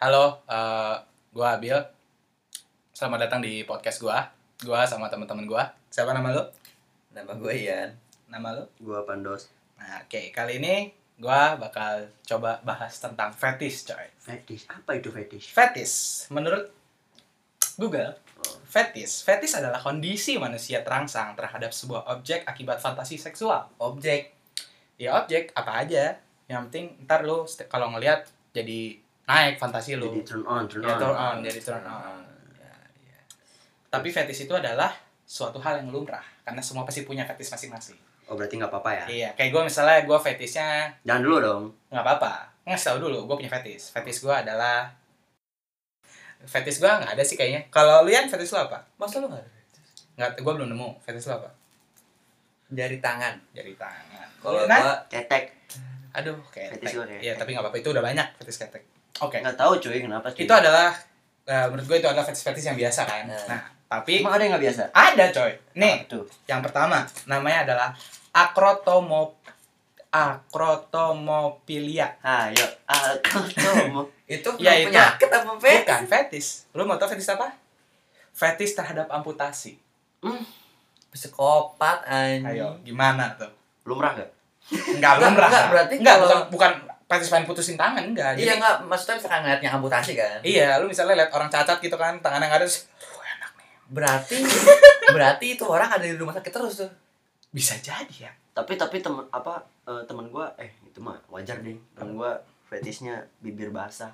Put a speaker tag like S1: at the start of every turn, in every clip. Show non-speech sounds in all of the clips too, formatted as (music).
S1: Halo, eh, gua Abil. Selamat datang di podcast gua. Gua sama teman-teman gua. Siapa nama lu?
S2: Nama gue Ian.
S1: Nama lu?
S3: Gua Pandos.
S1: Nah, oke, kali ini gua bakal coba bahas tentang fetish, coy.
S3: Fetish. Apa itu fetish?
S1: Fetish menurut Google,
S2: Hmm.
S1: fetish. Fetish adalah kondisi manusia terangsang terhadap sebuah objek akibat fantasi seksual.
S2: Objek.
S1: Ya objek apa aja. Yang penting ntar lu st- kalau ngelihat jadi naik fantasi lu.
S3: Jadi turn on, turn
S1: Ya, turn
S3: on.
S1: on, jadi turn on.
S2: Ya, ya.
S1: Tapi fetish itu adalah suatu hal yang lumrah karena semua pasti punya fetish masing-masing.
S2: Nah.
S3: Oh berarti nggak apa-apa ya?
S1: Iya, kayak gue misalnya gue fetishnya
S3: Jangan dulu dong.
S1: nggak apa-apa. Ngasih tau dulu, gue punya fetish. Fetish gue adalah fetish gue nggak ada sih kayaknya. Kalau lihat fetish lo apa?
S2: Masa lu gak ada?
S1: Nggak, gue belum nemu fetish lo apa.
S2: Jari tangan.
S1: Jari tangan.
S2: Kalau
S1: Nah,
S2: gua ya.
S3: Ketek.
S1: aduh kayak
S3: Fetish gue kayak
S1: Iya, tapi nggak apa-apa. Itu udah banyak fetish ketek. Oke,
S3: Nggak tahu cuy kenapa sih?
S1: itu adalah eh, menurut gue itu adalah fetish-fetish yang biasa kan.
S2: Nah.
S1: Nah, tapi
S3: Emang ada yang nggak biasa?
S1: ada coy. Nih,
S3: Apa tuh.
S1: Yang pertama namanya adalah akrotomop akrotomofilia.
S3: Ayo. Aku mau.
S2: itu
S1: Ya,
S2: ya,
S1: itu.
S2: penyakit apa pet?
S1: Bukan fetis. Lu mau tau fetis apa? Fetis terhadap amputasi.
S2: Psikopat anjing.
S1: Ayo, gimana tuh?
S3: Lumrah nggak?
S1: Enggak
S2: Hmm. Enggak,
S1: lumrah.
S2: enggak, berarti
S1: enggak
S2: kalau-
S1: bukan, bukan fetis pengen putusin tangan enggak.
S2: Iya
S1: Jadi,
S2: enggak, maksudnya misalkan ngeliatnya amputasi kan.
S1: iya, lu misalnya lihat orang cacat gitu kan, tangannya enggak ada terus, "Aduh, enak nih."
S2: Berarti berarti itu orang ada di rumah sakit terus tuh.
S1: Bisa jadi ya.
S3: Tapi tapi temen apa eh, temen gua eh itu mah wajar deh. Temen gua fetishnya bibir basah.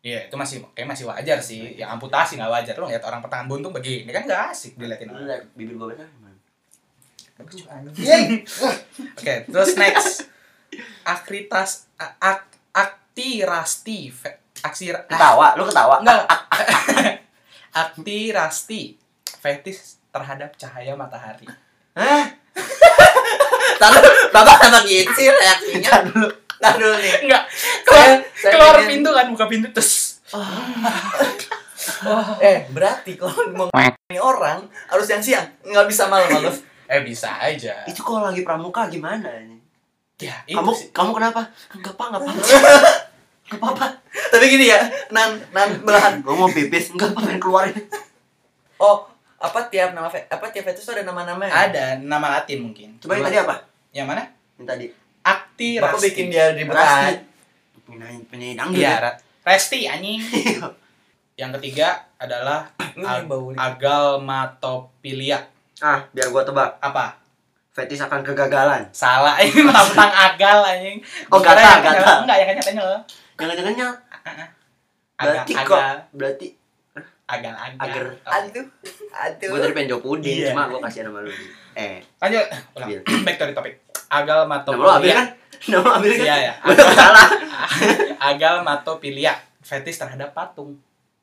S1: Iya, itu masih kayak masih wajar sih. Ya amputasi enggak wajar. Lu lihat orang pertangan buntung begini kan enggak asik diliatin
S3: Lu
S1: orang.
S3: liat bibir gua basah gimana?
S1: Ah. Oke, terus next. Akritas a- ak, aktirasti fe- aksir ah,
S3: Ketawa. Lu ketawa.
S1: enggak. (laughs) aktirasti fetis terhadap cahaya matahari.
S2: Tahu Bapak sama gitu sih reaksinya.
S3: Ntar dulu.
S2: Tahu dulu nih.
S1: Enggak.
S2: Saya-
S1: Keluar,
S2: saya
S1: keluar
S2: ingin-
S1: pintu kan, buka pintu (laughs) terus.
S2: Eh, berarti kalau mau ini orang harus yang siang, nggak bisa malam-malam.
S1: Eh bisa aja.
S3: Itu kalau lagi pramuka gimana ini?
S1: Ya, itu
S3: Kamu
S1: sih.
S3: kamu kenapa? Enggak apa
S1: (laughs)
S3: enggak apa. Enggak apa-apa.
S2: Tapi gini ya, nan nan belahan
S3: Gua mau pipis. Enggak apa pengen keluarin.
S2: Oh, apa tiap nama fe- apa tiap fetus tuh ada nama-nama ya?
S1: ada nama Latin mungkin.
S3: Coba yang tadi apa?
S1: Yang mana?
S3: Yang tadi.
S1: Aktirasti.
S2: Bapak bikin dia ribet
S3: Rasti.
S2: aja.
S3: Penyanyi, penyanyi dangdut.
S1: Iya,
S3: ya?
S1: Ra- Resti anjing. Yang ketiga adalah
S2: Lu yang bau nih.
S1: agalmatopilia.
S3: (laughs) ah, biar gua tebak.
S1: Apa?
S3: Fetis akan kegagalan.
S1: Salah (laughs) ini tampang agal anjing.
S3: Oh,
S1: Bukan
S3: gatal,
S1: yang-
S3: gatal.
S1: Enggak yang nyatanya lo.
S3: Jangan-jangannya
S1: Agal,
S3: berarti kok
S1: agal,
S3: berarti
S1: agal, agal.
S3: Agar.
S1: Oke.
S2: Aduh. Aduh.
S3: gua tadi pengen jawab puding,
S1: Iya.
S3: cuma gua kasihan sama lu. Eh,
S1: Lanjut. (clears throat) Ulang.
S3: Bil.
S1: Back to the topic. Agal
S3: Nama lu Abil
S1: matopilia.
S3: kan? (laughs) Nama lu Abil kan?
S1: Iya, iya.
S3: Gua udah salah.
S1: (laughs) Agal matopilia. Fetis terhadap patung.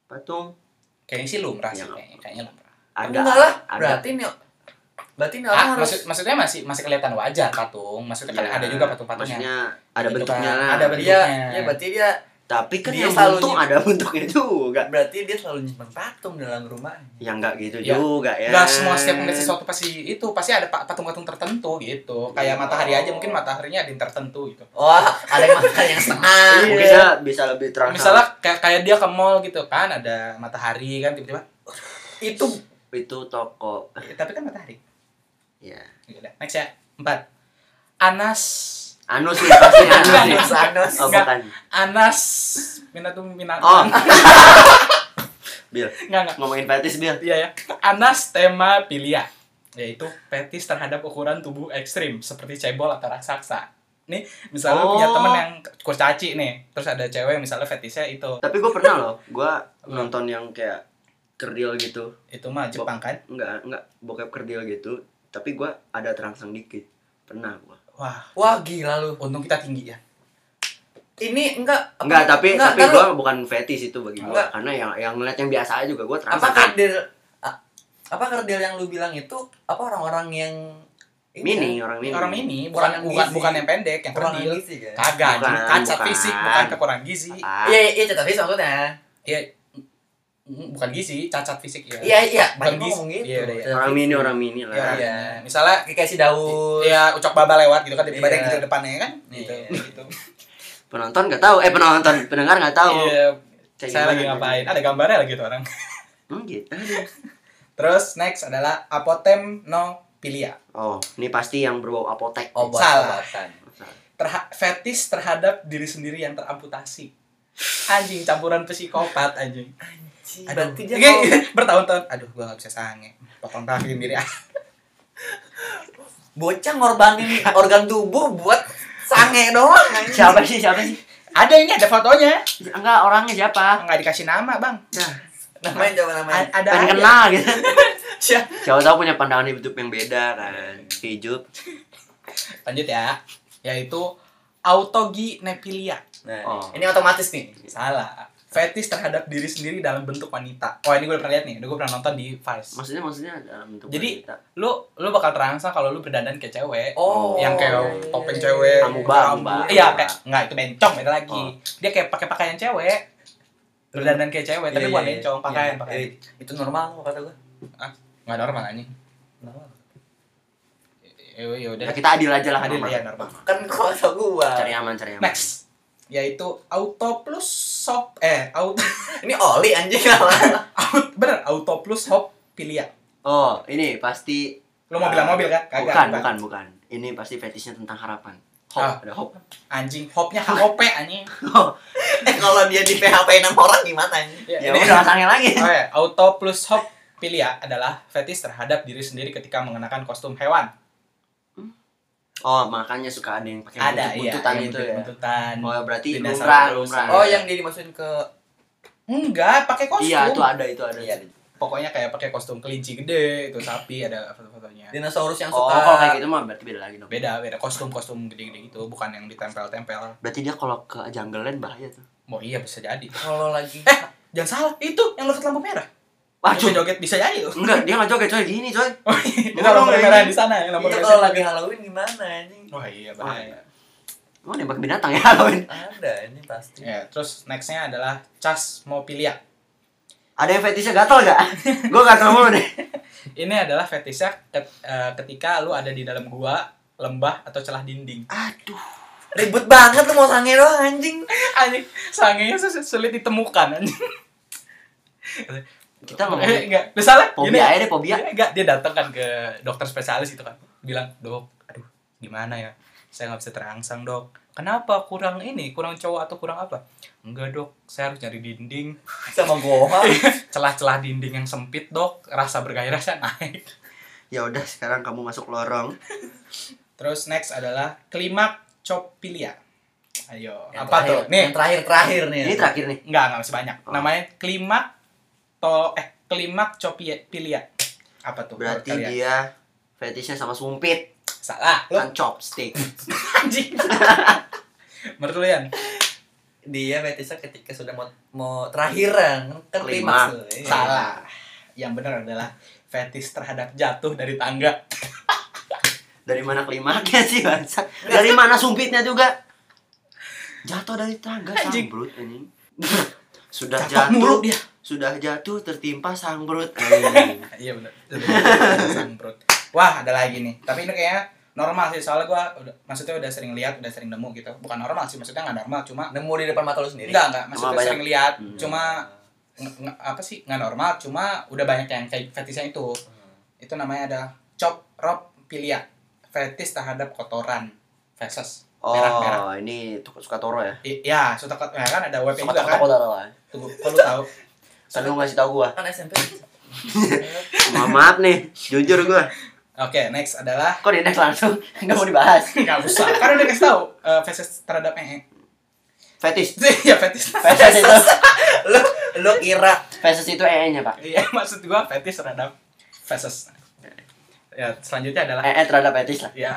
S3: Patung
S1: Kayaknya sih lumrah sih
S3: Iya.
S1: kayaknya. Kayaknya lumrah.
S2: Tapi
S3: ada.
S2: enggak lah.
S3: ada.
S2: Berarti nih berarti nih orang
S1: Ah,
S2: harus
S1: maksud, maksudnya masih masih kelihatan wajar patung. Maksudnya kan
S3: Iya.
S1: ada juga patung-patungnya.
S3: Maksudnya ada
S1: Gitu
S3: bentuknya
S1: kan.
S3: lah.
S1: Ada bentuk.
S2: Iya,
S1: bentuknya.
S2: iya berarti dia
S3: Tapi kan
S2: Dia
S3: yang
S2: selalu
S3: buntung
S2: nyim-
S3: ada bentuknya juga.
S2: berarti dia selalu nyimpan patung dalam rumahnya.
S3: Ya enggak gitu
S1: Iya.
S3: juga ya.
S1: Enggak semua setiap melihat sesuatu pasti itu pasti ada pa- patung-patung tertentu gitu. Kayak
S3: Iya.
S1: matahari aja mungkin mataharinya ada yang tertentu gitu.
S2: Wah, ada yang makan yang setengah.
S3: Iya. Bisa bisa lebih terang.
S1: Misalnya kayak, kayak dia ke mall gitu kan ada matahari kan tiba-tiba
S2: Itu
S3: itu toko.
S1: Eh, tapi kan matahari.
S3: Iya.
S1: Ya udah, next ya. Empat. Anas
S3: Anus
S1: (laughs)
S3: sih pasti anus
S1: Enggak,
S3: sih.
S2: Anus Anus.
S3: Oh,
S1: Enggak.
S3: bukan.
S1: Anas Minatum Minatan.
S3: Oh.
S1: (laughs)
S3: Bil,
S1: Enggak enggak.
S3: ngomongin fetis Bil.
S1: Iya ya. Anas tema pilia yaitu fetis terhadap ukuran tubuh ekstrim seperti cebol atau raksasa. Nih, misalnya lu punya
S3: Oh.
S1: temen yang kurcaci nih, terus ada cewek yang misalnya fetisnya itu,
S3: Tapi gue pernah loh, gue nonton yang kayak kerdil gitu.
S1: itu mah Jepang kan?
S3: Enggak, enggak bokep kerdil gitu. Tapi gue ada terangsang dikit. Pernah gue.
S1: Wah,
S2: Wah, gila lu.
S1: untung kita tinggi ya.
S2: Ini enggak apa-
S3: Enggak, tapi tapi
S2: enggak,
S3: gue bukan fetis itu bagi gue.
S2: Enggak.
S3: Karena yang yang ngeliat yang biasa aja juga gue
S2: apa
S3: terangsang. Kan?
S2: kerdil a- apa kerdil yang lu bilang itu apa orang-orang yang ini
S3: Mini, Iya. orang mini.
S1: Orang ini
S2: Orang
S1: bukan
S2: yang
S1: bukan,
S2: gizi.
S1: bukan yang pendek,
S2: kan?
S1: yang
S2: orang
S1: kerdil.
S2: gizi kan
S1: Kagak,
S3: Bukan,
S1: anjing. cacat
S3: bukan.
S1: fisik bukan kekurangan gizi.
S3: Apa?
S2: iya iya tapi maksudnya
S1: Ya mm, bukan gizi, cacat fisik ya.
S2: iya iya
S1: Bukan
S2: banyak
S1: gizi.
S2: ngomong gitu
S1: Iya, iya.
S3: Orang mini, orang mini lah.
S1: Ya,
S2: Iya.
S1: Misalnya
S2: Kayak kasih daun
S1: ya ucok baba lewat gitu kan tiba-tiba
S2: Iya.
S1: ada yang gitu depannya kan
S2: Iya.
S1: gitu gitu.
S3: Penonton nggak tahu, eh penonton pendengar nggak tahu.
S1: Iya.
S3: Kayak
S1: saya lagi
S3: gimana
S1: ngapain
S3: tadi?
S1: ada gambarnya lagi tuh orang
S3: Hmm, gitu.
S1: terus next adalah apotemnopilia
S3: Oh, ini pasti yang berbau apotek.
S2: obat
S1: Salah.
S2: obatan
S1: Terha- fetis terhadap diri sendiri yang teramputasi anjing campuran psikopat anjing
S2: Aduh.
S1: aduh
S2: Berarti dia
S1: Oke,
S2: mau-
S1: (laughs) bertahun-tahun aduh gua gak bisa sange potong kaki sendiri ah
S2: bocah ngorbanin organ tubuh buat sange doang
S3: Siapa sih? Siapa sih?
S1: ada ini ada fotonya
S3: Enggak, orangnya siapa?
S1: nggak dikasih nama bang
S3: Nah,
S2: namanya coba namanya
S1: A- ada
S3: pengen
S1: aja.
S3: kenal gitu.
S1: Siap.
S3: Siapa tahu punya pandangan hidup yang beda kan. Hidup.
S1: lanjut ya yaitu autogynepilia
S2: nah,
S3: Oh.
S2: ini otomatis nih
S1: salah fetis terhadap diri sendiri dalam bentuk wanita oh ini gue pernah lihat nih udah gue pernah nonton di Vice
S3: Maksudnya maksudnya dalam bentuk
S1: Jadi-
S3: wanita.
S1: lu lu bakal terangsang kalau lu berdandan kayak cewek
S2: oh
S1: yang kayak
S2: iya, iya,
S1: topeng
S2: iya.
S1: cewek,
S3: Amuba,
S1: rambut.
S3: amuba.
S1: Iya, kayak enggak itu bencong itu lagi.
S3: Oh.
S1: Dia kayak pakai pakaian cewek. Berdandan kayak cewek, tapi
S2: Iya,
S1: bukan
S2: iya,
S1: bencong,
S2: iya.
S1: pakaian,
S2: Iya.
S1: pakaian.
S2: Eh, itu normal kok kata gua
S1: Enggak normal anjing.
S2: Normal.
S1: Ya ya udah.
S3: Ya, kita adil aja lah
S1: Adil,
S3: normal.
S1: iya, normal.
S2: kan kok kata gua
S3: Cari aman, cari aman.
S1: Next yaitu auto plus sop eh auto
S2: ini oli anjing (laughs) nama
S1: aut- bener auto plus hop pilia
S3: Oh, ini pasti eh,
S1: lu mau bilang mobil kan kagak
S3: Ah, bukan,
S1: bukan.
S3: bukan, bukan. Ini pasti fetishnya tentang harapan. Hop,
S1: Ah.
S3: ada hop.
S1: anjing hopnya hop anjing
S2: eh kalau dia di PHP enam orang gimana anjing
S3: Ya
S1: ya, ini-
S3: udah rasanya lagi.
S1: Oh ya, auto plus hop pilia adalah fetis terhadap diri sendiri ketika mengenakan kostum hewan
S3: Oh, makanya suka ada yang pakai
S1: ada iya
S3: buntutan
S1: yang
S3: itu ya.
S1: buntutan
S3: Oh, berarti
S1: Tidak
S3: lumrah,
S1: sama
S3: lumrah.
S1: perusahaan.
S2: oh yang dia dimasukin ke
S1: enggak pakai kostum
S3: Iya, itu ada, itu ada.
S2: Iya.
S1: pokoknya kayak pakai kostum kelinci gede itu sapi ada foto-fotonya
S2: dinosaurus yang
S3: Oh,
S2: suka
S3: kalau kayak gitu mah berarti beda lagi dong.
S1: beda beda kostum kostum gede-gede gitu bukan yang ditempel-tempel
S3: Berarti dia kalau ke jungle land bahaya tuh.
S1: mau iya bisa jadi
S2: kalau lagi (laughs)
S1: eh jangan salah itu yang lurus lampu merah
S3: Waduh.
S1: bisa joget bisa jadi tuh
S3: Enggak, dia nggak joget coy, gini coy.
S1: (laughs) Oh, iya, itu
S3: Ngomong
S1: lampu
S3: lagi.
S1: merah di sana ya, yang lampu
S2: Iya,
S1: merah
S2: kalau
S1: sana.
S2: lagi Halloween gimana anjing?
S1: wah iya
S3: Wah,
S1: bahaya
S3: Mau nembak binatang ya Halloween.
S2: Ada ini pasti.
S1: ya terus nextnya adalah chasmopilia
S3: Ada yang fetishnya
S1: (laughs)
S3: gatal gak? Gue gatal mulu deh.
S1: ini adalah fetisnya ket- eh, ketika lu ada di dalam gua lembah atau celah dinding
S3: Aduh.
S2: Ribut banget lu mau sange doang anjing.
S1: (laughs) anjing sangenya sus- sulit ditemukan anjing
S3: Kita
S1: eh,
S3: ngomongin
S1: enggak lu salah
S3: fobia aja deh, fobia.
S1: dia enggak dia datang kan ke dokter spesialis itu kan bilang dok aduh gimana ya saya nggak bisa terangsang dok kenapa kurang ini kurang cowok atau kurang apa enggak dok saya harus nyari dinding
S2: Sama gua.
S1: celah-celah dinding yang sempit dok rasa bergairah saya naik
S3: Ya udah, sekarang kamu masuk lorong.
S1: terus next adalah klimak copilia ayo
S2: Yang
S1: apa
S2: terakhir,
S1: tuh nih
S2: Yang terakhir terakhir nih.
S1: Iya.
S3: Ini terakhir nih.
S1: Enggak, enggak masih banyak.
S3: Oh.
S1: Namanya klimak to eh klimak copilia. Apa tuh? menurut
S3: Berarti
S1: kalian?
S3: dia fetishnya sama sumpit,
S1: salah. Lu
S3: kan chopstick. (laughs)
S1: anjing. menurut lu Yan?
S2: Dia betisnya ketika sudah mau mau terakhiran kan
S3: Kelima.
S2: klimaks tuh. Iya.
S1: (laughs) Salah. Yang benar adalah fetis terhadap jatuh dari tangga.
S3: Dari mana klimaknya sih, Bangsa? Dari mana sumpitnya juga? Jatuh dari tangga
S1: Anjing.
S3: sambrut ini. (laughs) Sudah
S1: Cakep
S3: jatuh,
S1: mulu dia.
S3: sudah jatuh tertimpa sambrut.
S1: (laughs)
S3: Anjing.
S1: Iya benar. Samprut. Wah, ada lagi nih. Tapi ini kayaknya normal sih soalnya gua udah, maksudnya udah sering lihat, udah sering nemu gitu. Bukan normal sih, maksudnya nggak normal, cuma
S2: Nemu di depan mata lu sendiri.
S1: enggak enggak, maksudnya
S3: banyak.
S1: sering lihat,
S3: Hmm.
S1: cuma nge- nge- apa sih nggak normal cuma udah banyak yang kayak fetisnya itu
S3: Hmm.
S1: itu namanya ada chop rob pilia fetis terhadap kotoran feses
S3: Oh,
S1: merah merah
S3: ini tukang suka toro ya?
S1: I- ya suka kot- ya kan ada web juga
S3: Suka toko
S1: kan
S3: toko toro kan?
S1: tunggu kok lu tahu
S3: Selalu ngasih tau gua.
S2: Kan SMP.
S3: Ma- maaf nih, jujur gua.
S1: oke next adalah (laughs)
S3: Kok di next langsung? (laughs) Enggak mau dibahas.
S1: nggak usah karena udah kasih tahu eh, (laughs) feses terhadap ee
S3: Fetish.
S1: ya fetis
S3: Fetish itu,
S2: lu lu kira
S3: fetish itu ee-nya, Pak.
S1: iya maksud gua fetis terhadap feses ya selanjutnya adalah
S3: Ee terhadap fetish lah.
S1: ya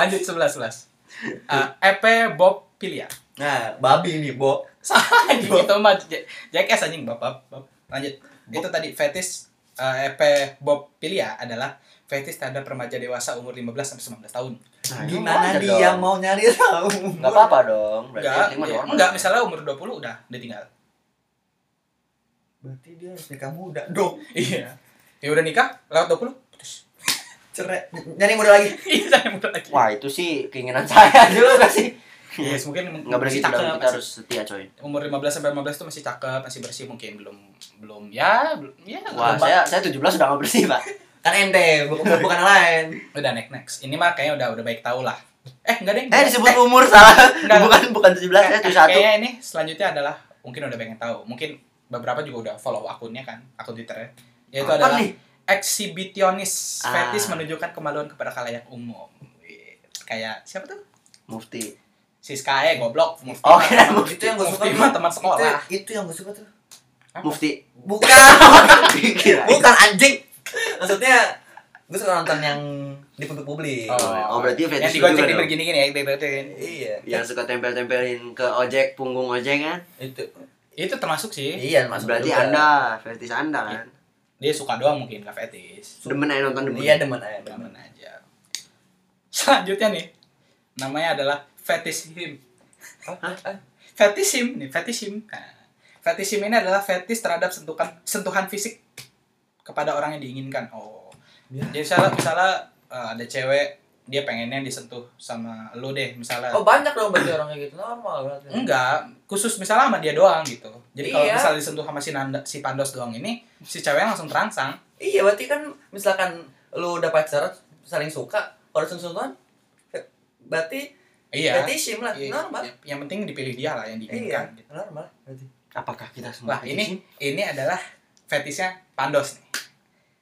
S1: lanjut sebelas sebelas epe bob pilia
S2: nah babi nih, Bo.
S1: (laughs) Salah anjing itu mah J- jackass anjing bapak. Bap. Lanjut. Itu tadi fetis eh, EP Bob Pilia adalah fetis terhadap remaja dewasa umur 15 sampai 19 tahun.
S3: Nah, ini
S2: Gimana
S3: wajar
S2: dia
S3: dong.
S2: mau nyari tahu?
S3: Enggak apa-apa dong. Berarti
S1: Enggak,
S3: yang penting mah
S1: ya,
S3: normal.
S1: enggak misalnya umur 20 udah ditinggal.
S2: Berarti dia harus nikah muda dong.
S1: Iya. Ya udah nikah lewat 20 putus.
S2: Cerai. Nyari muda lagi.
S1: (laughs) Iya, saya muda lagi.
S3: (laughs) Wah, itu sih keinginan saya juga sih.
S1: Yes, mungkin
S3: nggak berarti
S1: masih cakep,
S3: kita
S1: masih-
S3: harus setia coy
S1: umur 15 sampai 15 tuh masih cakep, masih bersih mungkin belum belum ya, belum ya.
S3: wah
S1: belum-
S3: saya saya 17 udah nggak bersih pak
S2: kan ente bukan bukan yang lain
S1: udah next next. Ini mah kayaknya udah udah baik tau lah. Eh, enggak deh.
S3: eh disebut umur salah
S1: Nggak.
S3: bukan bukan 17 saya
S1: Eh,
S3: 71
S1: Kayaknya ini selanjutnya adalah mungkin udah pengen tahu. Mungkin beberapa juga udah follow akunnya kan, akun Twitternya. Yaitu
S3: Apa
S1: adalah
S3: nih?
S1: eksibitionis,
S3: Ah.
S1: fetis menunjukkan kemaluan kepada khalayak umum. Wih, Kayak siapa tuh?
S3: mufti
S1: Si Skae goblok, mufti.
S3: Oh, kira
S1: Teman-
S3: mufti.
S2: itu yang gue suka
S1: Mufti
S2: tuh.
S1: mah teman sekolah.
S2: itu, itu yang gue suka tuh
S3: mufti (laughs)
S2: (laughs) bukan
S3: Kira-
S2: bukan anjing maksudnya gue suka nonton yang di publik publik
S3: Oh, berarti
S1: yang
S3: fetis lu
S1: digocek
S3: juga
S1: di
S3: dong.
S1: begini-gini ya, digocek-gocekin.
S2: iya
S3: yang suka tempel-tempelin ke ojek punggung ojek kan
S2: itu
S1: Itu termasuk sih.
S2: iya masuk
S3: berarti
S2: juga.
S3: anda fetis anda kan
S1: Dia suka doang mungkin gak fetis.
S3: demen aja nonton Kan demen
S2: iya demen aja demen.
S1: Temen aja. Selanjutnya nih. Namanya adalah fetishism. Fetishism nih, fetishism. Nah, fetishism ini adalah fetis terhadap sentuhan sentuhan fisik kepada orang yang diinginkan. Oh.
S2: Ya.
S1: Jadi misalnya, misalnya eh, ada cewek dia pengennya disentuh sama lo deh misalnya.
S2: oh banyak dong berarti orang kayak gitu normal berarti
S1: Kan. Enggak, khusus misalnya sama dia doang gitu. Jadi kalau
S2: Iya.
S1: misalnya disentuh sama si Nanda, si Pandos doang ini, si ceweknya langsung terangsang.
S2: iya berarti kan misalkan lu udah pacaran saling suka kalau sentuhan berarti
S1: Iya.
S2: fetishim lah
S1: Iya,
S2: normal
S1: yang- Yang penting dipilih dia lah yang
S2: iya
S1: diinginkan. gitu.
S2: normal berarti
S3: apakah kita semua
S1: Wah, ini ini adalah fetisnya Pandos nih.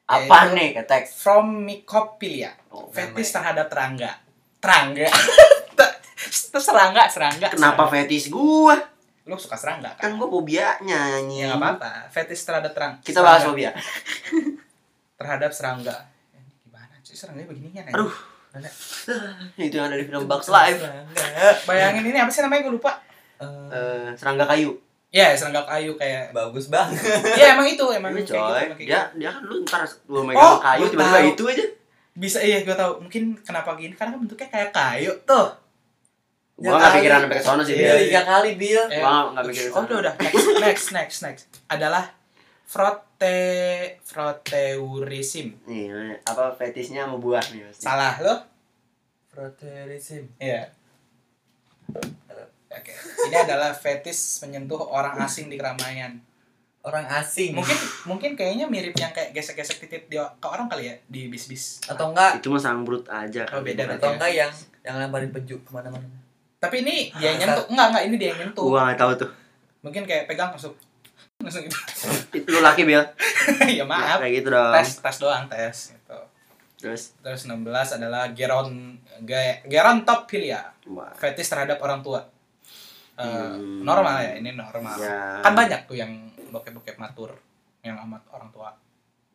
S3: apa nih ketek
S1: Fromicophilia.
S3: Oh,
S1: Fetis terhadap terangga.
S3: (laughs)
S1: Terangga. Itu serangga, serangga.
S3: kenapa fetis gua
S1: serangga. Lu suka serangga kan?
S3: kan gua fobianya
S1: Ya
S3: nyanyi
S1: nggak apa-apa. Fetis terhadap terang.
S3: Kan. kita bahas
S1: serangga. (laughs)
S3: fobia
S1: terhadap serangga. Ya, ini Gimana sih serangga begininya?
S3: Aduh.
S1: Ada.
S3: itu yang ada di film Bugs Life
S2: Enggak.
S1: Bayangin ini apa sih namanya gue lupa.
S2: Eh,
S3: Eh, serangga kayu
S1: Ya, serangga kayu kayak
S2: bagus banget
S1: ya emang itu emang
S3: Iya
S1: kayak
S3: coy,
S1: gitu, emang kayak
S3: dia
S1: gitu.
S3: dia kan lu ntar lu megang
S1: Oh,
S3: kayu
S1: gua
S3: tiba-tiba
S1: tahu.
S3: itu aja.
S1: bisa iya gue tahu mungkin kenapa gini karena kan bentuknya kayak kayu tuh
S3: Gua
S2: Ya
S3: nggak
S2: kali.
S3: pikiran sampai ke sono sih.
S1: Iya,
S3: Bil.
S2: Bil, tiga kali Bil
S1: Eh,
S3: Gua nggak mikirin.
S1: oh udah udah next next next next adalah frote froteurism
S3: Nih, apa fetisnya sama buah nih pasti.
S1: salah lo
S2: Froterism
S1: iya oke ini adalah fetis menyentuh orang asing di keramaian
S2: orang asing
S1: mungkin mungkin kayaknya mirip yang kayak gesek-gesek titik di, ke orang kali ya di bis-bis
S2: atau enggak
S3: Itu mah sangbrut aja kan.
S1: Oh, beda,
S2: atau
S1: beda.
S2: enggak yang yang lemparin peju kemana-mana
S1: Iya. tapi ini dia yang nyentuh enggak enggak ini dia yang nyentuh
S3: Gua nggak tahu tuh.
S1: mungkin kayak pegang masuk langsung gitu (laughs)
S3: Itu lu laki Bil.
S1: ya maaf
S3: Kayak gitu dong.
S1: tes tes doang tes gitu
S3: Terus
S1: Terus 16 adalah geron ge, gerontophilia,
S3: wah.
S1: fetis terhadap orang tua. Eh,
S3: Hmm.
S1: normal ya, ini normal.
S3: Ya.
S1: Kan banyak tuh yang bokep-bokep matur yang amat orang tua.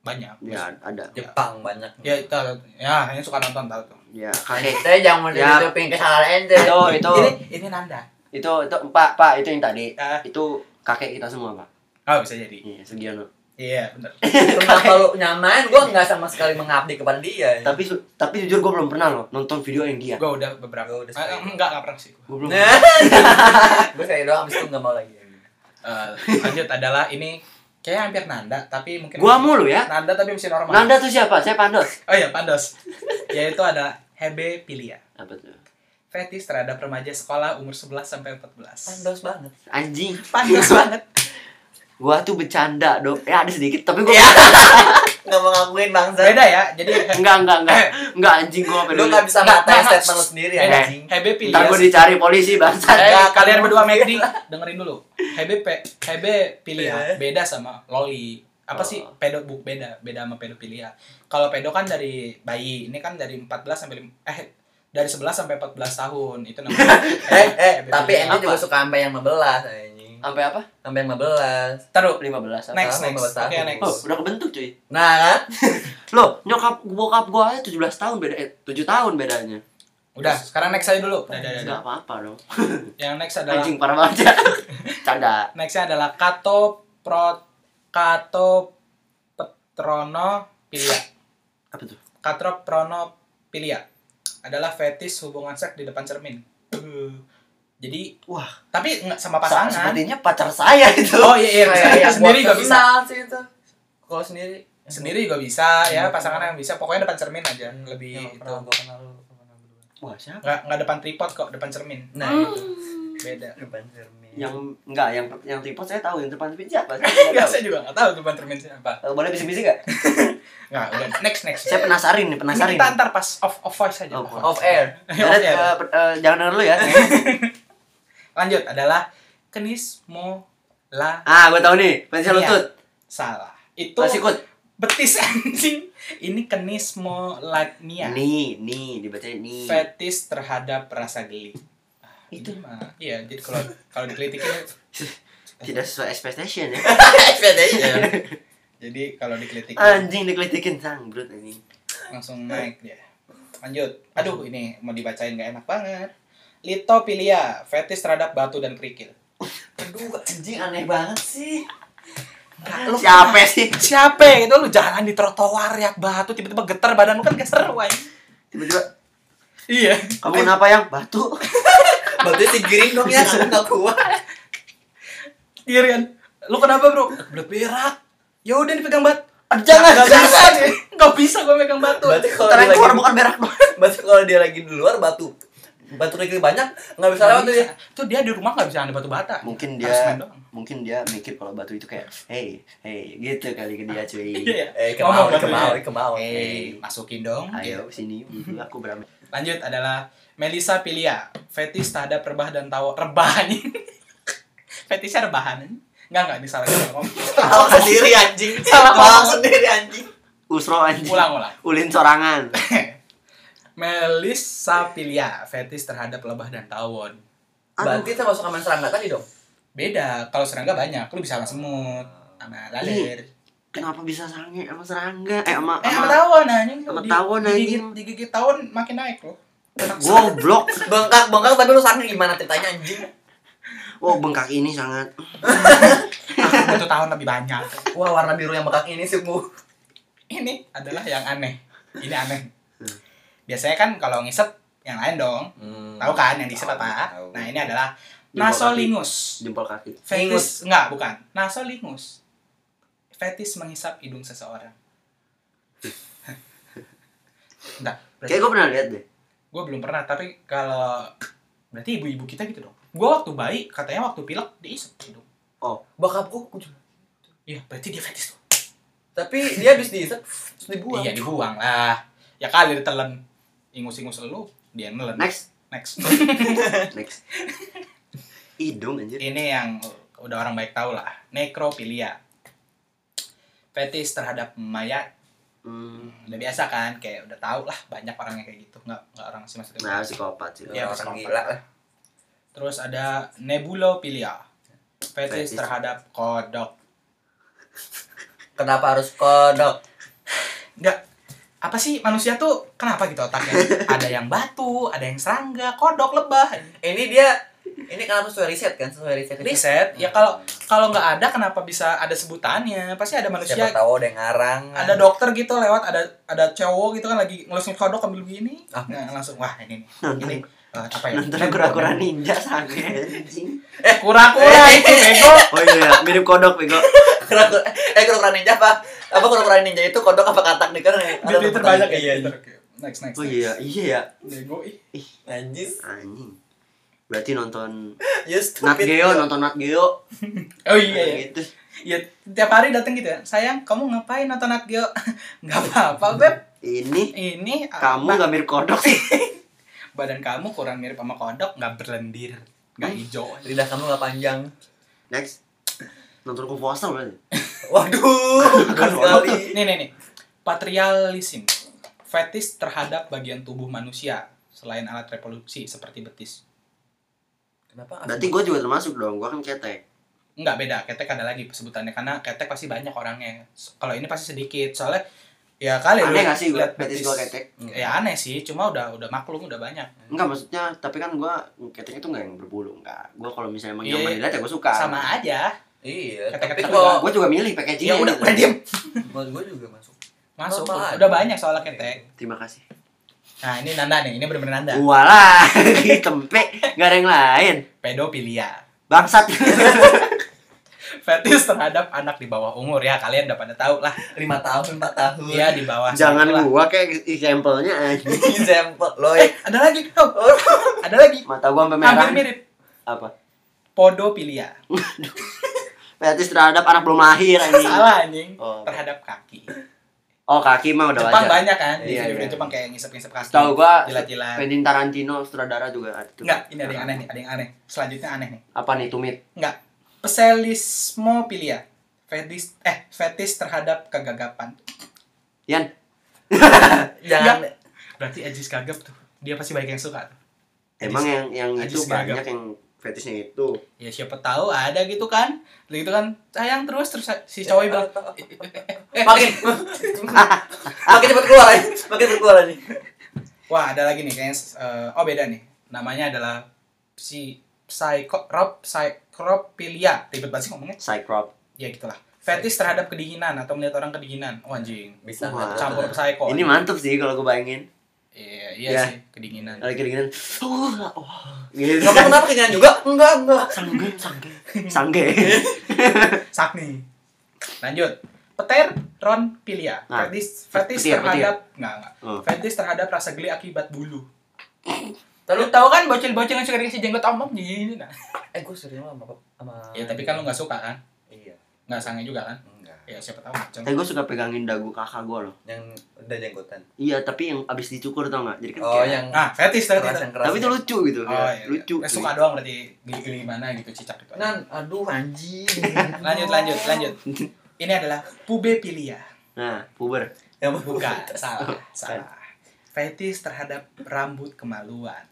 S1: Banyak.
S3: Ya, ada.
S2: Jepang banyak
S1: Ya, itu, ya, yang suka nonton tahu tuh.
S3: Ya, kakek.
S2: saya jangan
S1: Iya.
S3: Ya.
S2: menutupi kesalahan ente
S3: (laughs) Itu Oh, itu
S1: Kan Ini ini Nanda.
S3: itu itu Pak, Pak, itu yang tadi.
S1: Ah.
S3: Itu kakek kita semua, Pak.
S1: Oh, bisa jadi.
S3: Iya, Sugiono.
S1: Iya, bener
S2: Kenapa lu nyamain? Gue nggak sama sekali mengabdi kepada dia. Ya.
S3: Tapi su- tapi jujur gua belum pernah loh nonton video yang dia.
S1: Gua udah beberapa.
S2: Gua udah
S1: Eh,
S2: sekali.
S1: enggak, enggak pernah sih gua.
S2: (laughs)
S3: Gua belum.
S2: Eh. gue kayak doang abis itu nggak mau lagi.
S1: Eh, lanjut adalah ini kayaknya hampir Nanda, tapi mungkin
S3: Gua mulu ya.
S1: Nanda tapi masih normal.
S3: Nanda tuh siapa? Saya Pandos.
S1: Oh iya, Pandos. Yaitu ada hebephilia.
S3: Apa tuh?
S1: fetis terhadap remaja sekolah umur 11 sampai 14.
S2: Pandos banget.
S3: Anjing. (laughs)
S1: Pantas banget.
S3: gua tuh bercanda dok ya ada sedikit tapi gua
S2: Nggak mau ngakuin bangsa.
S1: Beda ya. (laughs) Jadi
S3: enggak enggak enggak enggak anjing gua
S2: Lu
S3: peduli
S2: nggak bisa
S1: Nggak,
S2: ngatain
S1: nggak.
S2: statement lu sendiri ya,
S1: Beda.
S2: anjing.
S1: HB pilih. ya.
S3: ntar gua dicari polisi bangsa
S1: Eh,
S2: Nggak,
S1: kalian
S2: kamu-
S1: berdua McD (laughs) dengerin dulu. HB pe- HB
S2: Iya.
S1: pilihan ya. beda sama loli. Apa
S3: Oh.
S1: sih pedo bu- beda beda sama pedofilia. Kalau pedo kan dari bayi, ini kan dari 14 sampai lim- eh dari 11 sampai 14 tahun. Itu
S2: (laughs)
S1: namanya. ya.
S2: Eh, eh,
S1: Hebephilia.
S2: tapi ente
S3: Apa?
S2: juga suka sampai yang 15 anjing.
S3: sampai apa
S2: Sampai yang 15.
S1: Taruh.
S3: 15 apa?
S1: Next
S2: Sama
S1: next. Oke
S2: 15 tahun.
S1: next.
S3: oh udah kebentuk cuy
S2: Nah kan?
S3: lo nyokap bokap gua aja 17 tahun beda eh 7 tahun bedanya
S1: Udah, sekarang next aja dulu. Udah, udah, udah, udah.
S3: enggak apa-apa dong
S1: Yang next adalah
S3: anjing parah banget ya canda
S1: Nextnya adalah Kato Pro Kato Petrono Pilia.
S3: apa tuh
S1: Kato Prono Pilia adalah fetis hubungan seks di depan cermin.
S2: Uh.
S1: Eh, Jadi
S3: wah
S1: tapi nggak sama
S3: pasangan
S1: pasangan.
S3: sepertinya pacar saya itu
S1: Oh iya, iya bisa.
S2: Kayak yang
S1: sendiri
S2: buat
S1: juga bisa.
S2: kenal sih itu. Kalau sendiri. kan,
S1: Sendiri juga bisa ya, pasangan yang bisa. Pokoknya depan cermin aja lebih itu.
S2: Yang pernah gua kenal lu. pernah gua kenal.
S3: Wah, siapa?
S1: nggak nggak depan tripod kok depan cermin
S2: Nah, itu.
S1: beda
S2: depan cermin.
S3: Yang enggak, yang yang tripod saya tahu, yang depan tripod siapa?
S1: (laughs) nggak
S3: Enggak
S1: saya juga nggak tahu depan cermin siapa
S3: tahu. Eh, Boleh bisik-bisik enggak?
S1: nggak udah next next
S3: Saya penasarin nih,
S1: Ini
S3: penasarin.
S1: kita antar pas off off voice aja
S3: Oh,
S1: Off voice.
S2: Off air. (laughs)
S1: Off
S3: Darat,
S1: air.
S3: eh, per- eh, jangan denger dulu ya. (laughs)
S1: lanjut adalah kenismo la
S3: ah, gue tahu nih, pensil lutut.
S1: salah itu
S3: Masih ikut.
S1: betis (laughs) anjing ini kenismo lania
S3: Nih, nih, dibacanya nih.
S1: fetis terhadap rasa geli Ah,
S3: Itu.
S1: ini mah iya jadi kalau kalau dikelitikin
S3: Tidak sesuai expectation ya.
S2: Expectation.
S1: jadi kalau dikelitikin
S3: Anjing dikelitikin sang brut anjing.
S1: langsung naik dia lanjut aduh ini mau dibacain gak enak banget litopilia fetis terhadap batu dan kerikil
S2: Aduh, anjing aneh banget sih.
S3: Siapa sih?
S1: siapa itu lu jalan di trotoar ya batu tiba-tiba getar badan lu kan gak seru anjing
S3: Tiba-tiba
S1: iya
S3: kamu kenapa yang batu?
S2: Berarti digiring dong ya, aku nggak kuat.
S1: iya Rian lu kenapa bro udah berak ya udah dipegang bat
S3: Aduh, jangan,
S1: Gak
S3: jangan.
S1: bisa nih gak bisa gue megang batu
S2: Berarti kalau dia
S3: Terang
S2: lagi
S3: keluar bukan berak.
S2: berarti kalau dia lagi di luar batu batu kerikil banyak nggak bisa lewat tuh ya. dia.
S1: tuh dia di rumah gak bisa ada batu bata
S3: Mungkin
S1: Harus main
S3: dia
S1: doang.
S3: mungkin dia mikir kalau batu itu kayak hey, hey gitu kali ke dia cuy.
S1: (laughs) iya ya
S2: Eh, kemau,
S1: Ngomong,
S2: kemau,
S1: iya.
S2: kemau.
S1: Eh, masukin dong Iya.
S3: Ayo sini
S1: Mhm.
S3: gitu, aku berame.
S1: Lanjut adalah Melisa Pilia, fetis terhadap rebah dan tawa (laughs) rebahan. Fetisnya rebahan. Enggak enggak ini salah salah ngomong. (laughs)
S2: Tahu sendiri anjing.
S1: Salah (laughs)
S2: Tahu
S1: ngomong.
S2: sendiri anjing.
S3: Usro anjing.
S1: Ulang ulang.
S3: Ulin sorangan.
S1: Melisa Pilia, fetis terhadap lebah dan tawon.
S3: Aduh.
S2: Berarti termasuk aman serangga tadi dong.
S1: Beda, kalau serangga banyak, lu bisa sama semut, sama laler.
S3: Kenapa bisa sange sama serangga? Eh sama
S1: Eh, sama
S3: sama
S1: tawon anjing.
S3: sama
S1: Di-
S3: tawon,
S1: digigit-
S3: anjing.
S1: Digigit tawon makin naik loh. (laughs)
S3: goblok.
S2: Bengkak, bengkak tapi lu sange gimana ceritanya anjing?
S3: Wow, bengkak ini sangat
S1: Aku butuh tawon lebih banyak.
S2: Wah, warna biru yang bengkak ini sih, Bu.
S1: Ini adalah yang aneh. Ini aneh. Biasanya kan kalau ngisep yang lain dong.
S3: Hmm.
S1: Tahu kan yang diisep apa?
S2: Tahu.
S1: Nah, ini adalah
S3: Jempol
S1: nasolingus.
S3: jempol kaki.
S1: Fetis enggak, bukan. Nasolingus. Fetis menghisap hidung seseorang. Enggak.
S3: Kayak gue pernah lihat deh.
S1: Gue belum pernah, tapi kalau berarti ibu-ibu kita gitu dong. Gue waktu bayi katanya waktu pilek diisep hidung.
S2: Bakapku
S1: Iya, berarti dia fetis tuh.
S2: Tapi dia habis diisep terus dibuang.
S1: Iya, dibuang lah. Ya kali ditelen. Ingus-ingus lu, dia nelen.
S3: Next,
S1: Next.
S3: next. Hidung anjir.
S1: ini yang udah orang baik tahu lah nekrofilia fetis terhadap mayat
S3: Hmm.
S1: udah biasa kan kayak udah tahu lah banyak orang yang kayak gitu nggak nggak orang sih maksudnya
S3: Nah, psikopat sih.
S1: Iya,
S2: orang
S1: psikopat.
S2: gila lah.
S1: terus ada nebulofilia fetis
S3: Fetis.
S1: terhadap kodok
S2: Kenapa harus kodok?
S1: nggak apa sih manusia tuh kenapa gitu otaknya ada yang batu ada yang serangga kodok lebah
S2: Ini dia ini kenapa sesuai riset kan? Sesuai riset. Riset.
S1: riset ya kalau kalau nggak ada kenapa bisa ada sebutannya pasti ada manusia
S2: Siapa tahu ada yang ngarang.
S1: ada
S2: (laughs)
S1: dokter gitu lewat ada ada cowok gitu kan lagi ngelusin kodok ambil begini
S2: Ah.
S1: nah, langsung wah ini nih ini
S3: Nonton,
S1: eh, apa ya
S3: nonton kura-kura ninja sange anjing.
S1: eh kura-kura itu bego
S3: Oh iya, mirip kodok bego.
S2: Kura-kura- eh kura-kura ninja apa? Apa kura-kura ninja itu kodok apa katak nih kan?
S1: di twitter banyak ya
S2: gitu.
S1: iya next next
S3: Oh iya, iya ya.
S1: next. bego ih
S2: Anjis.
S3: Anjing. Berarti nonton
S2: You
S3: Nat
S2: stupid.
S3: Geo, nonton Nat Geo.
S1: oh iya iya
S3: gitu.
S1: ya tiap hari datang gitu ya sayang kamu ngapain nonton Nat Geo (laughs) nggak apa-apa beb
S3: Ini
S1: ini
S3: kamu
S1: apa?
S3: gak mirip kodok sih. (laughs)
S1: badan kamu kurang mirip sama kodok nggak berlendir nggak hijau
S2: Lidah kamu nggak panjang.
S3: Next. Nonton Kung Fu Hustle berarti.
S2: Waduh, (laughs)
S3: Bukan
S2: bagus
S3: kodok.
S2: sekali.
S1: nih nih nih patrialism fetis terhadap bagian tubuh manusia selain alat reproduksi seperti betis
S2: Kenapa?
S3: Berarti gue juga termasuk dong, gue kan ketek.
S1: Enggak beda, ketek ada lagi sebutannya karena ketek pasti banyak orangnya. S- Kalau ini pasti sedikit. Soalnya ya kali lu
S3: Aneh gak sih gue,
S1: liat
S3: betis gue ketek?
S1: Ya aneh sih, cuma udah udah maklum udah banyak.
S3: Enggak maksudnya, tapi kan gue ketek itu gak yang berbulu, enggak. Gue kalau misalnya emang
S1: Iya,
S3: nyaman
S1: iya.
S3: dilihat ya gue suka.
S1: Sama aja.
S2: Iya,
S1: Kata-kata
S2: tapi
S1: juga.
S2: kalau
S3: Gue juga milih packagingnya.
S1: Ya udah,
S3: gitu.
S1: udah diem.
S2: buat gue juga masuk.
S1: Masuk.
S2: Normal aja.
S1: Udah banyak soalnya ketek.
S3: Terima kasih.
S1: Nah, ini Nanda nih, ini bener-bener Nanda.
S3: Uh. Walah, (laughs) tempe, gak ada yang lain.
S1: (laughs) Pedofilia.
S3: Bangsat.
S1: fetis terhadap anak di bawah umur ya kalian udah pada tahu lah
S2: lima tahun empat tahun
S1: dia di bawah
S3: Jangan
S1: segitulah.
S3: gua kayak example-nya anjing.
S2: example lo
S1: (laughs) eh ada lagi oh, ada lagi
S3: Mata gua sampai merah.
S1: hampir mirip
S3: Apa?
S1: podopilia
S3: Fetis terhadap anak belum lahir anjing.
S1: salah anjing
S3: Oh.
S1: terhadap kaki
S3: Oh, kaki mah udah
S1: Jepang
S3: wajar.
S1: banyak kan di
S3: Iya,
S1: video
S3: iya.
S1: Jepang kayak ngisep-ngisep kaki
S3: Tahu gua
S1: jilat-jilat
S3: Quentin Tarantino sutradara juga ada tuh.
S1: Enggak, ini ada yang aneh nih, ada yang aneh. Selanjutnya aneh nih.
S3: Apa nih tumit?
S1: Enggak. Peselismopilia. Fetis eh fetis terhadap kegagapan.
S3: Yan,
S2: jangan
S1: Berarti Ajis gagap tuh. Dia pasti banyak yang suka tuh.
S3: emang yang yang
S1: Ajis
S3: itu
S1: gagap.
S3: banyak yang fetisnya itu.
S1: Ya siapa tahu ada gitu kan. Lalu gitu kan sayang terus terus si cowok bilang eh,
S2: makin (laughs) makin cepat keluar ya makin cepat keluar nih
S1: wah ada lagi nih kayaknya eh, oh beda nih. Namanya adalah si psychorop psychropilia. Ribet banget sih ngomongnya.
S3: Cyclop.
S1: Ya gitulah. Fetis terhadap kedinginan atau melihat orang kedinginan. Oh anjing.
S2: bisa
S3: Wah.
S1: Campur psycho.
S3: Ini mantep sih kalau gue bayangin.
S1: Iya, iya
S3: Ya.
S1: sih, kedinginan.
S3: Lagi gini-gini. Uh, wah. Gitu.
S2: kamu kenapa kenyang juga enggak enggak
S3: Sangge, sangge. (laughs) Sangge.
S1: Sakni. Lanjut. Peter Ron Pilia.
S3: Nah,
S1: Fetis, fetis
S3: petir,
S1: terhadap nggak nggak.
S3: Oh.
S1: Fetis terhadap rasa geli akibat bulu. Lalu tahu kan bocil-bocil yang suka dikasih jenggot ompong gini nah.
S2: eh gue sering sama sama
S1: Ya tapi kan lu nggak suka kan?
S2: iya
S1: Nggak sange juga kan?
S2: enggak
S1: Ya siapa tahu macam.
S3: Tapi gue suka pegangin dagu kakak gue loh.
S2: yang udah jenggotan
S3: Iya, tapi yang abis dicukur tau gak? Jadi kan
S2: oh
S3: kayak-
S2: yang
S1: Nah, fetis tadi.
S2: keras yang keras ya.
S3: Tapi itu lucu gitu.
S1: Oh,
S3: kayak
S1: iya.
S3: Lucu.
S1: Eh, suka doang berarti geli-geli gimana gitu cicak gitu. aja.
S3: Nah,
S2: nan aduh anjing
S1: Lanjut, lanjut, lanjut. Ini adalah pubepilia.
S3: Nah, puber.
S2: yang
S1: Bukan,
S2: buka
S1: salah, salah. Fetis terhadap rambut
S3: (laughs)
S1: kemaluan.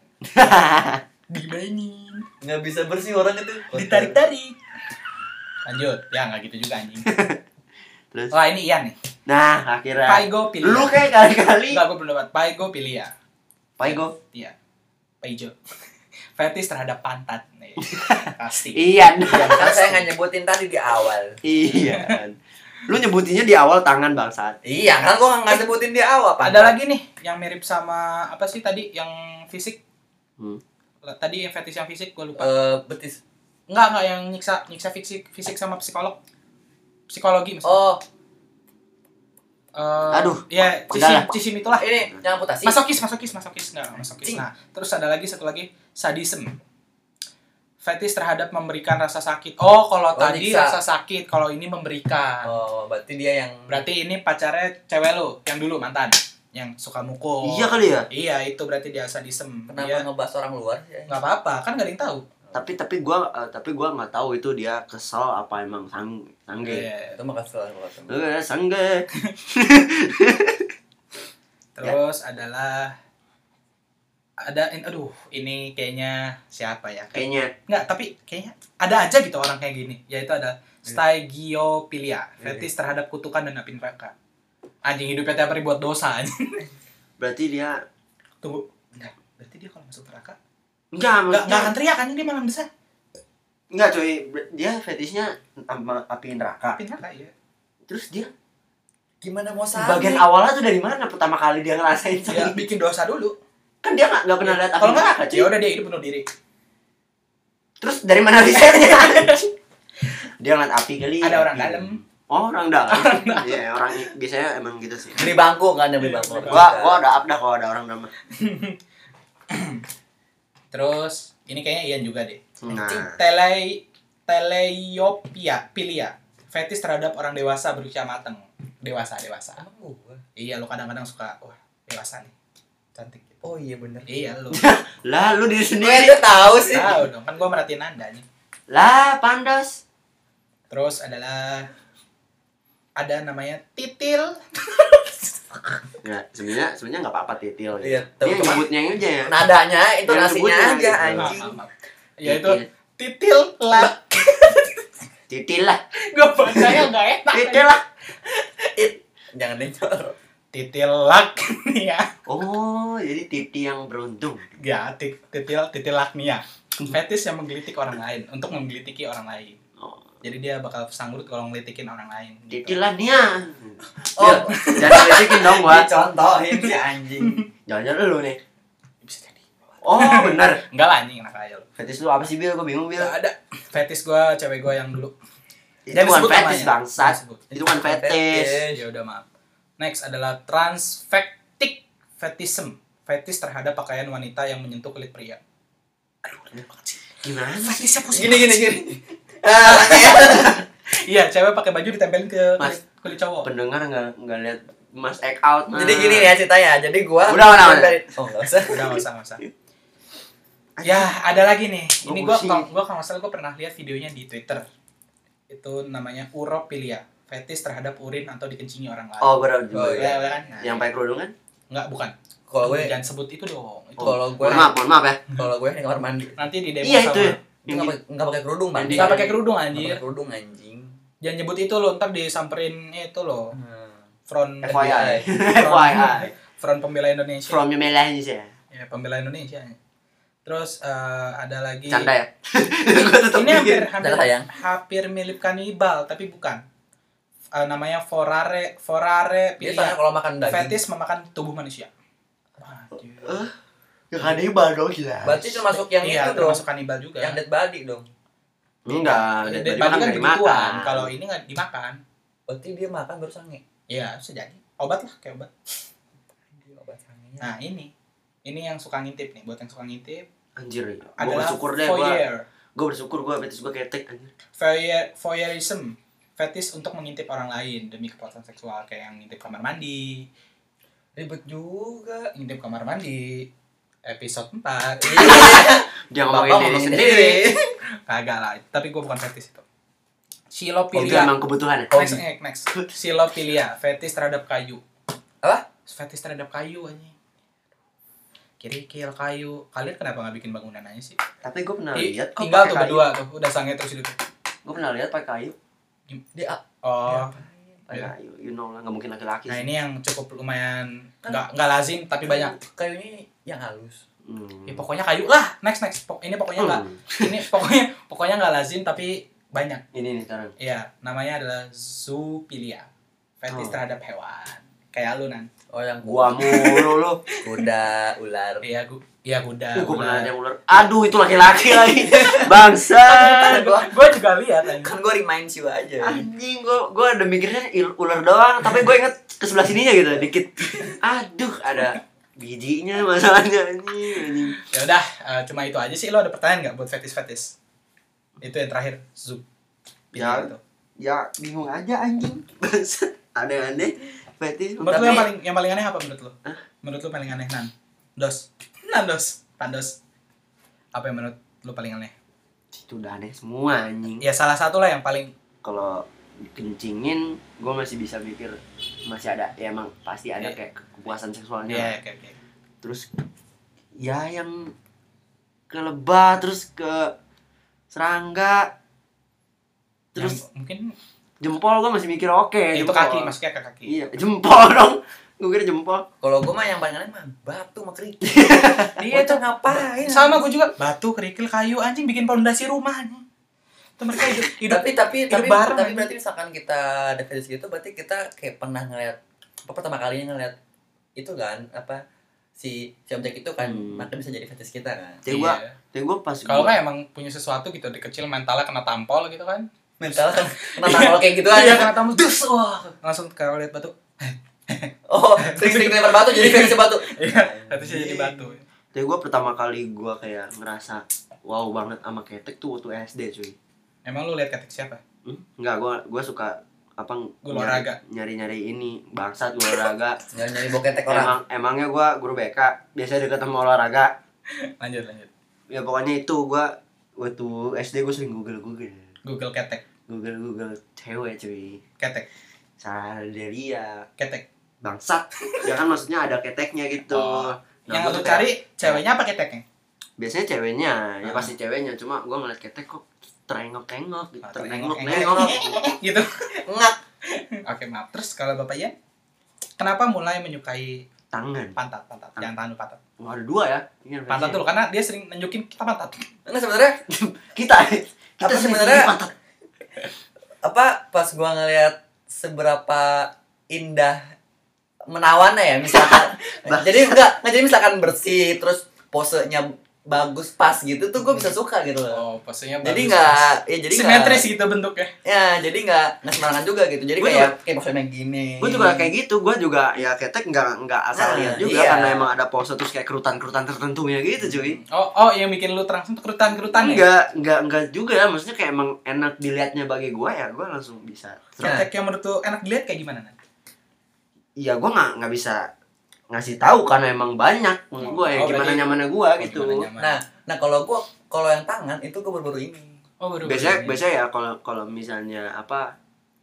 S1: Dimainin,
S2: nggak bisa bersih orang itu
S1: ditarik-tarik. Lanjut, ya nggak gitu juga anjing.
S3: Terus.
S1: Wah ini Ian nih.
S3: Nah, akhirnya.
S1: Paigo pilia.
S3: Lu kayak kali-kali.
S1: Enggak, gue belum dapat. Paigo pilia.
S3: Paigo.
S1: Iya. Paijo. Fetis terhadap pantat.
S3: (laughs)
S1: Nih, Pasti.
S3: Iya.
S2: karena Kan saya nggak nyebutin tadi di awal
S3: Iya. Lu nyebutinnya di awal tangan bangsat.
S2: iya kan gue nggak sebutin di awal
S1: Eh,
S2: Pak.
S1: Ada lagi nih yang mirip sama apa sih tadi yang fisik?
S3: Hmm.
S1: Tadi yang fetis yang fisik gue lupa.
S2: Eh, betis
S1: Enggak, enggak yang nyiksa nyiksa fisik fisik sama psikolog. Psikologi maksudnya.
S2: oh
S1: Eh,
S3: Aduh,
S1: Ya, cisim,
S3: pegal ya.
S1: cisim itulah.
S2: ini yang amputasi
S1: Masokis, masokis, masokis enggak, enggak masokis.
S2: Cing.
S1: Nah, terus ada lagi satu lagi sadism. Fetis terhadap memberikan rasa sakit. Oh, kalau
S2: Oh,
S1: tadi
S2: nyiksa.
S1: rasa sakit, kalau ini memberikan.
S2: oh berarti dia yang
S1: Berarti ini pacarnya cewek lu yang dulu mantan yang suka mukul.
S3: Iya kali ya.
S1: Iya, itu berarti dia sadism.
S2: kan? kenapa
S1: Dia
S2: ngebahas orang luar ya?
S1: enggak apa-apa, kan enggak ada yang tahu.
S3: Tapi tapi gua eh, tapi gua nggak tahu itu dia kesel apa emang sang sangge.
S1: Iya.
S2: itu makasih lah kalau ketemu.
S3: Eh, sangge.
S1: Terus adalah ada aduh, ini kayaknya siapa ya? Kayak
S3: Kayaknya
S1: Nggak, tapi kayaknya ada aja gitu orang kayak gini. Yaitu ada
S3: Iya.
S1: Staigiopilia, fetis terhadap kutukan dan api neraka. Anjing hidupnya tiap hari buat dosa anjing.
S3: berarti dia
S1: Tunggu, enggak. Berarti dia kalau masuk neraka enggak
S3: enggak
S1: enggak
S3: maksudnya
S1: akan teriak anjing dia malam besar.
S3: enggak cuy Ber- dia fetishnya sama api neraka.
S1: Api neraka ya.
S3: Terus dia
S2: gimana mau sange
S3: bagian awalnya tuh dari mana pertama kali dia ngerasain
S1: Ya
S3: sangge?
S1: bikin dosa dulu.
S3: Kan dia nggak nggak pernah lihat api
S1: Kalau enggak
S3: neraka
S1: ya
S3: cuy.
S1: udah dia hidup bunuh diri.
S3: Terus dari mana
S1: (laughs)
S3: risetnya? dia ngeliat api kali.
S1: Iya.
S3: ya,
S1: Ada orang
S3: api.
S1: dalam.
S3: Oh, orang dalam. Iya, orang biasanya emang gitu sih.
S2: beli bangku kan
S1: Iya,
S2: yang beli bangku
S3: Gua gua udah up dah kalau ada orang "Nah." dalam.
S1: Terus ini kayaknya Ian juga deh.
S3: Nah.
S1: Tele Teleiopia pilia. Fetis terhadap orang dewasa berusia mateng. Dewasa, dewasa.
S2: Emang gua?
S1: Iya, lo kadang-kadang suka wah, dewasa nih. Cantik gitu.
S2: oh iya bener
S1: Iya, (laughs) lu.
S3: Lah, lu diri
S2: Gue
S3: sendiri.
S2: udah tahu sih
S1: tahu dong kan gue merhatiin anda nih
S3: Lah, pandas.
S1: terus adalah ada namanya titil
S3: Ya, sebenarnya sebenarnya enggak apa-apa titil.
S2: Iya,
S3: Dia
S2: tapi cuma- Nah.
S3: nyebutnya aja ya.
S2: nadanya
S3: nyebutnya
S2: intonasinya aja
S3: gitu.
S1: Maaf,
S2: anjing
S1: maaf, maaf. ya itu titil lah (laughs)
S3: Titil lah.
S1: gue bacanya nggak
S2: Nah.
S1: enak
S3: Titil lah.
S2: jangan dengar
S1: titil lak nih ya
S3: Oh, jadi titi yang beruntung.
S1: ya tit- titil titil lak nih ya fetis yang menggelitik orang lain untuk menggelitiki orang lain
S3: Oh,
S1: jadi dia bakal sanggup kalau ngelitikin orang lain gitu.
S3: titil lah Nia.
S2: oh
S3: Jangan litikin dong
S2: (laughs)
S3: gua.
S2: dicontohin si anjing
S3: Jangan-jangan lu nih.
S1: bisa jadi
S3: Oh, bener.
S1: enggak lah anjing enak aja lu
S3: Fetis lu apa sih, Bil? Gua bingung, Bil.
S1: Nggak ada fetis gue cewek gue yang dulu
S3: Itu
S2: Jangan
S3: bukan
S2: disebut
S3: fetish
S2: namanya.
S3: bangsat.
S1: Jangan disebut.
S3: Itu bukan fetish.
S1: ya udah maaf next adalah transvectic fetism fetish terhadap pakaian wanita yang menyentuh kulit pria
S3: Gimana sih?
S1: fetishnya pusing
S2: Gini gini gini. Ah, kayak-
S1: iya cewek pakai baju ditempelin ke
S3: Mas.
S1: kulit, kulit cowok
S3: Pendengar nggak nggak lihat Mas Egg out. eh, Mas.
S2: Jadi gini ya ceritanya. Jadi gua
S3: Udah, udah, udah.
S2: Oh, enggak usah.
S1: udah nggak usah nggak usah ya ada lagi nih
S3: Gua
S1: ini gua
S3: pusing.
S1: kalau gua kalau nggak salah gua pernah lihat videonya di twitter itu namanya uropilia fetish terhadap urin atau dikencingi orang lain
S3: Oh, berat juga.
S2: Oh,
S1: Boleh,
S2: iya.
S1: boleh kan? Nah,
S3: Yang pakai kerudung kan?
S1: nggak bukan
S2: Kalau gue
S1: jangan sebut itu dong itu
S2: Kalau gue-
S3: Mohon maaf, mohon maaf ya.
S2: kalau gue di kamar mandi.
S1: nanti di demo
S3: Iya,
S1: sama
S3: itu ya. Yang
S2: Enggak
S3: di-
S2: pakai enggak pakai kerudung, Bang.
S3: Yang di-
S1: nggak pakai kerudung
S2: Nggak
S1: anjir
S2: pakai kerudung anjing.
S1: jangan nyebut itu lo ntar disamperin itu lo front
S3: FYI.
S1: (laughs)
S3: (laughs)
S1: front,
S3: FYI.
S1: front pembela Indonesia
S3: From Yamela Indonesia.
S1: ya pembela Indonesia terus eh, ada lagi
S3: Canda ya. (laughs) Gua tetep
S1: Iya. ini hampir
S3: mikir.
S1: hampir,
S2: Salah, sayang.
S1: hampir mirip kanibal tapi bukan Eh, namanya forare forare
S2: Dia soalnya kalau makan daging.
S1: fetis memakan tubuh manusia Wah, anjir.
S3: Eh, Ya kanibal dong gila.
S2: Berarti termasuk yang
S1: Iya,
S2: itu dong.
S1: termasuk kanibal juga
S2: Yang dead body dong.
S3: Enggak,
S1: Dead body
S3: dari tadi
S1: kan
S3: kan
S1: begituan
S3: dimakan.
S1: kalau ini nggak dimakan
S2: Berarti dia makan baru sange.
S1: ya bisa jadi obat lah kayak obat
S2: Dia obat sangenya.
S1: Nah ini ini yang suka ngintip nih buat yang suka ngintip
S3: Anjir, gue
S1: adalah
S3: bersyukur deh gue.
S1: voyeur,
S3: Gue bersyukur gue betis gue ketek anjir.
S1: voyeur, voyeurism, fetis untuk mengintip orang lain demi kepuasan seksual kayak yang ngintip kamar mandi,
S2: Ribet juga.
S1: ngintip kamar mandi, episode 4
S3: Dia ngomongin
S2: Bapak
S3: diri
S2: ngomong
S3: sendiri.
S1: kagak lah tapi gue bukan fetis itu.
S3: Itu
S1: Silopilia,
S3: emang kebutuhan ya.
S1: next, next, next. Silopilia, fetis terhadap kayu.
S2: Apa?
S1: Fetis terhadap kayu anjing. Kerikil kayu. Kalian kenapa nggak bikin bangunan aja sih?
S3: Tapi gue pernah
S1: Ih,
S3: Nah, lihat kok
S1: tinggal
S3: pakai
S1: tuh
S3: kayu.
S1: berdua tuh udah sange terus hidup.
S3: Gue pernah lihat pakai kayu.
S2: Dia
S1: Oh,
S3: Pakai
S1: Iya.
S3: kayu, you know lah, nggak mungkin laki-laki.
S1: nah
S3: sih.
S1: ini yang cukup lumayan
S2: Kan-
S1: nggak nggak lazim tapi banyak.
S2: Kayunya yang halus.
S3: Hmm.
S1: Ya, pokoknya kayu lah. Next next. Pok- ini pokoknya nggak.
S3: Hmm.
S1: ini pokoknya pokoknya nggak lazim tapi banyak.
S3: Ini nih sekarang.
S1: Iya, namanya adalah zoopilia. Fetis
S3: Oh.
S1: terhadap hewan. Kayak lu nan.
S2: Oh yang
S3: Gua mulu
S1: (laughs)
S3: lu.
S2: kuda, ular.
S1: Iya, gu iya kuda.
S3: Gue
S1: ular.
S3: pernah ada yang ular. Aduh, itu laki-laki lagi. Bangsa.
S1: (laughs) Gua gua juga lihat anjing.
S2: Kan gue remind you
S1: Ah.
S2: aja.
S3: Anjing, gue gue ada mikirnya il- ular doang, tapi gue inget ke sebelah sininya gitu, dikit. Aduh, ada bijinya masalahnya anjing, anjing.
S1: Ya udah, eh, cuma itu aja sih. Lo ada pertanyaan nggak buat fetis-fetis? Itu yang terakhir, zoo.
S3: Ya.
S1: itu.
S3: Ya bingung aja anjing. Bangsat. Aneh-aneh. Fetish.
S1: Menurut lo
S3: Tapi-
S1: yang paling yang paling aneh apa menurut lo? Menurut lo paling aneh Nan? Dos. Nan dos. Pandos. Apa yang menurut lo paling aneh?
S3: itu udah aneh semua anjing.
S1: Ya salah satu lah yang paling
S3: Kalau kencingin, gue masih bisa mikir masih ada ya emang pasti ada
S1: Iya.
S3: kayak kepuasan seksualnya.
S1: ya oke oke.
S3: terus ya yang ke lebah terus ke serangga terus
S1: Yang mungkin
S3: jempol gua masih mikir oke
S1: itu
S3: jempol.
S1: kaki maksudnya ke kaki.
S3: iya jempol (laughs) dong gua kira jempol
S2: Kalau gue mah yang paling aneh mah batu sama kerikil.
S1: Iya
S2: Bocah
S1: itu
S2: ngapain?
S1: sama gue juga. Batu, kerikil, kayu, anjing bikin pondasi rumah anjing. Itu mereka hidup hidup
S2: tapi tapi
S1: hidup
S2: tapi
S1: bareng,
S2: tapi
S1: anjing.
S2: berarti misalkan kita definisi gitu berarti kita kayak pernah ngeliat apa pertama kalinya ngeliat itu kan apa si si objek itu kan
S3: Hmm.
S2: maka bisa jadi fetish kita kan
S3: tapi gua
S1: Iya.
S3: tapi gua pas
S1: Kalau
S3: gua-
S1: nggak emang punya sesuatu gitu dari kecil mentalnya kena tampol gitu kan.
S2: mental kan kenapa kalau kayak gitu
S1: Iya
S2: aja
S1: kena tampol.
S2: dus wah
S1: Langsung kalau lihat batu.
S2: oh sering-sering lempar batu jadi fetish batu
S1: Iya, fetisnya jadi batu.
S3: tapi gua pertama kali gua kayak ngerasa wow banget sama ketek tuh waktu SD cuy
S1: Emang lu lihat ketik siapa?
S3: hmm? nggak gua gua suka apa
S1: Gua olahraga.
S3: nyari nyari ini bangsat gua
S1: (laughs)
S3: olahraga
S2: nyari nyari boketek orang
S3: emang emangnya gua guru BK biasanya deket sama olahraga
S1: Lanjut lanjut.
S3: ya pokoknya itu gua waktu SD gua sering google google
S1: Google ketek,
S3: google google cewek cuy
S1: ketek,
S3: Sarah Delia
S1: ketek.
S3: bangsat ya kan maksudnya ada keteknya gitu
S1: Oh.
S3: Nah,
S1: yang
S3: gua
S1: lu
S3: tuh kayak-
S1: cari ceweknya apa keteknya?
S3: biasanya ceweknya ya
S1: Ah.
S3: pasti ceweknya cuma gua ngeliat ketek kok terengok-tengok gitu
S1: Ah,
S3: terengok-nengok
S1: (laughs) gitu.
S2: ngak
S1: Oke, maaf. Terus kalau Bapak Ian, kenapa mulai menyukai
S3: tangan
S1: pantat, pantat? Jangan tahan lu pantat.
S3: Wah, ada dua ya Ini
S1: Pantat
S3: referensinya.
S1: dulu karena dia sering nunjukin kita pantat.
S2: enggak sebenarnya
S3: kita kita
S2: Tapi
S3: sebenarnya
S2: sebenarnya- apa pas gua ngeliat seberapa indah
S1: (laughs) Nah.
S2: menawannya ya misalkan jadi enggak nggak jadi misalkan bersih terus posenya bagus pas gitu tuh gue bisa suka gitu loh
S1: oh pastinya
S2: jadi
S1: bagus.
S2: nggak ya jadi nggak-
S1: simetris gitu bentuknya
S2: ya jadi nggak nggak sembarangan juga gitu jadi
S3: Gua
S2: kayak kayak maksudnya gini
S3: gue juga kayak gitu gue juga ya ketek nggak nggak asal
S1: Ah,
S2: Nah,
S3: lihat juga
S2: iya.
S3: karena emang ada pose terus kayak kerutan kerutan tertentunya gitu cuy
S1: oh oh yang bikin lu terangsang tuh kerutan kerutan ya
S3: Enggak, enggak, enggak juga. Maksudnya kayak emang enak dilihatnya bagi gua ya, gua langsung bisa.
S2: Nah.
S1: Ketek yang menurut lu enak dilihat kayak gimana Nan?
S3: Iya, gua nggak nggak bisa ngasih tahu karena emang banyak menurut gua ya
S1: Oh,
S3: gimana
S1: berarti-
S3: nyamannya gua
S1: Oh,
S3: gitu.
S1: gimana nyaman?
S2: nah nah kalau gue kalau yang tangan itu gue baru-baru ini
S1: oh baru
S3: Biasanya biasanya ya kalau kalau misalnya apa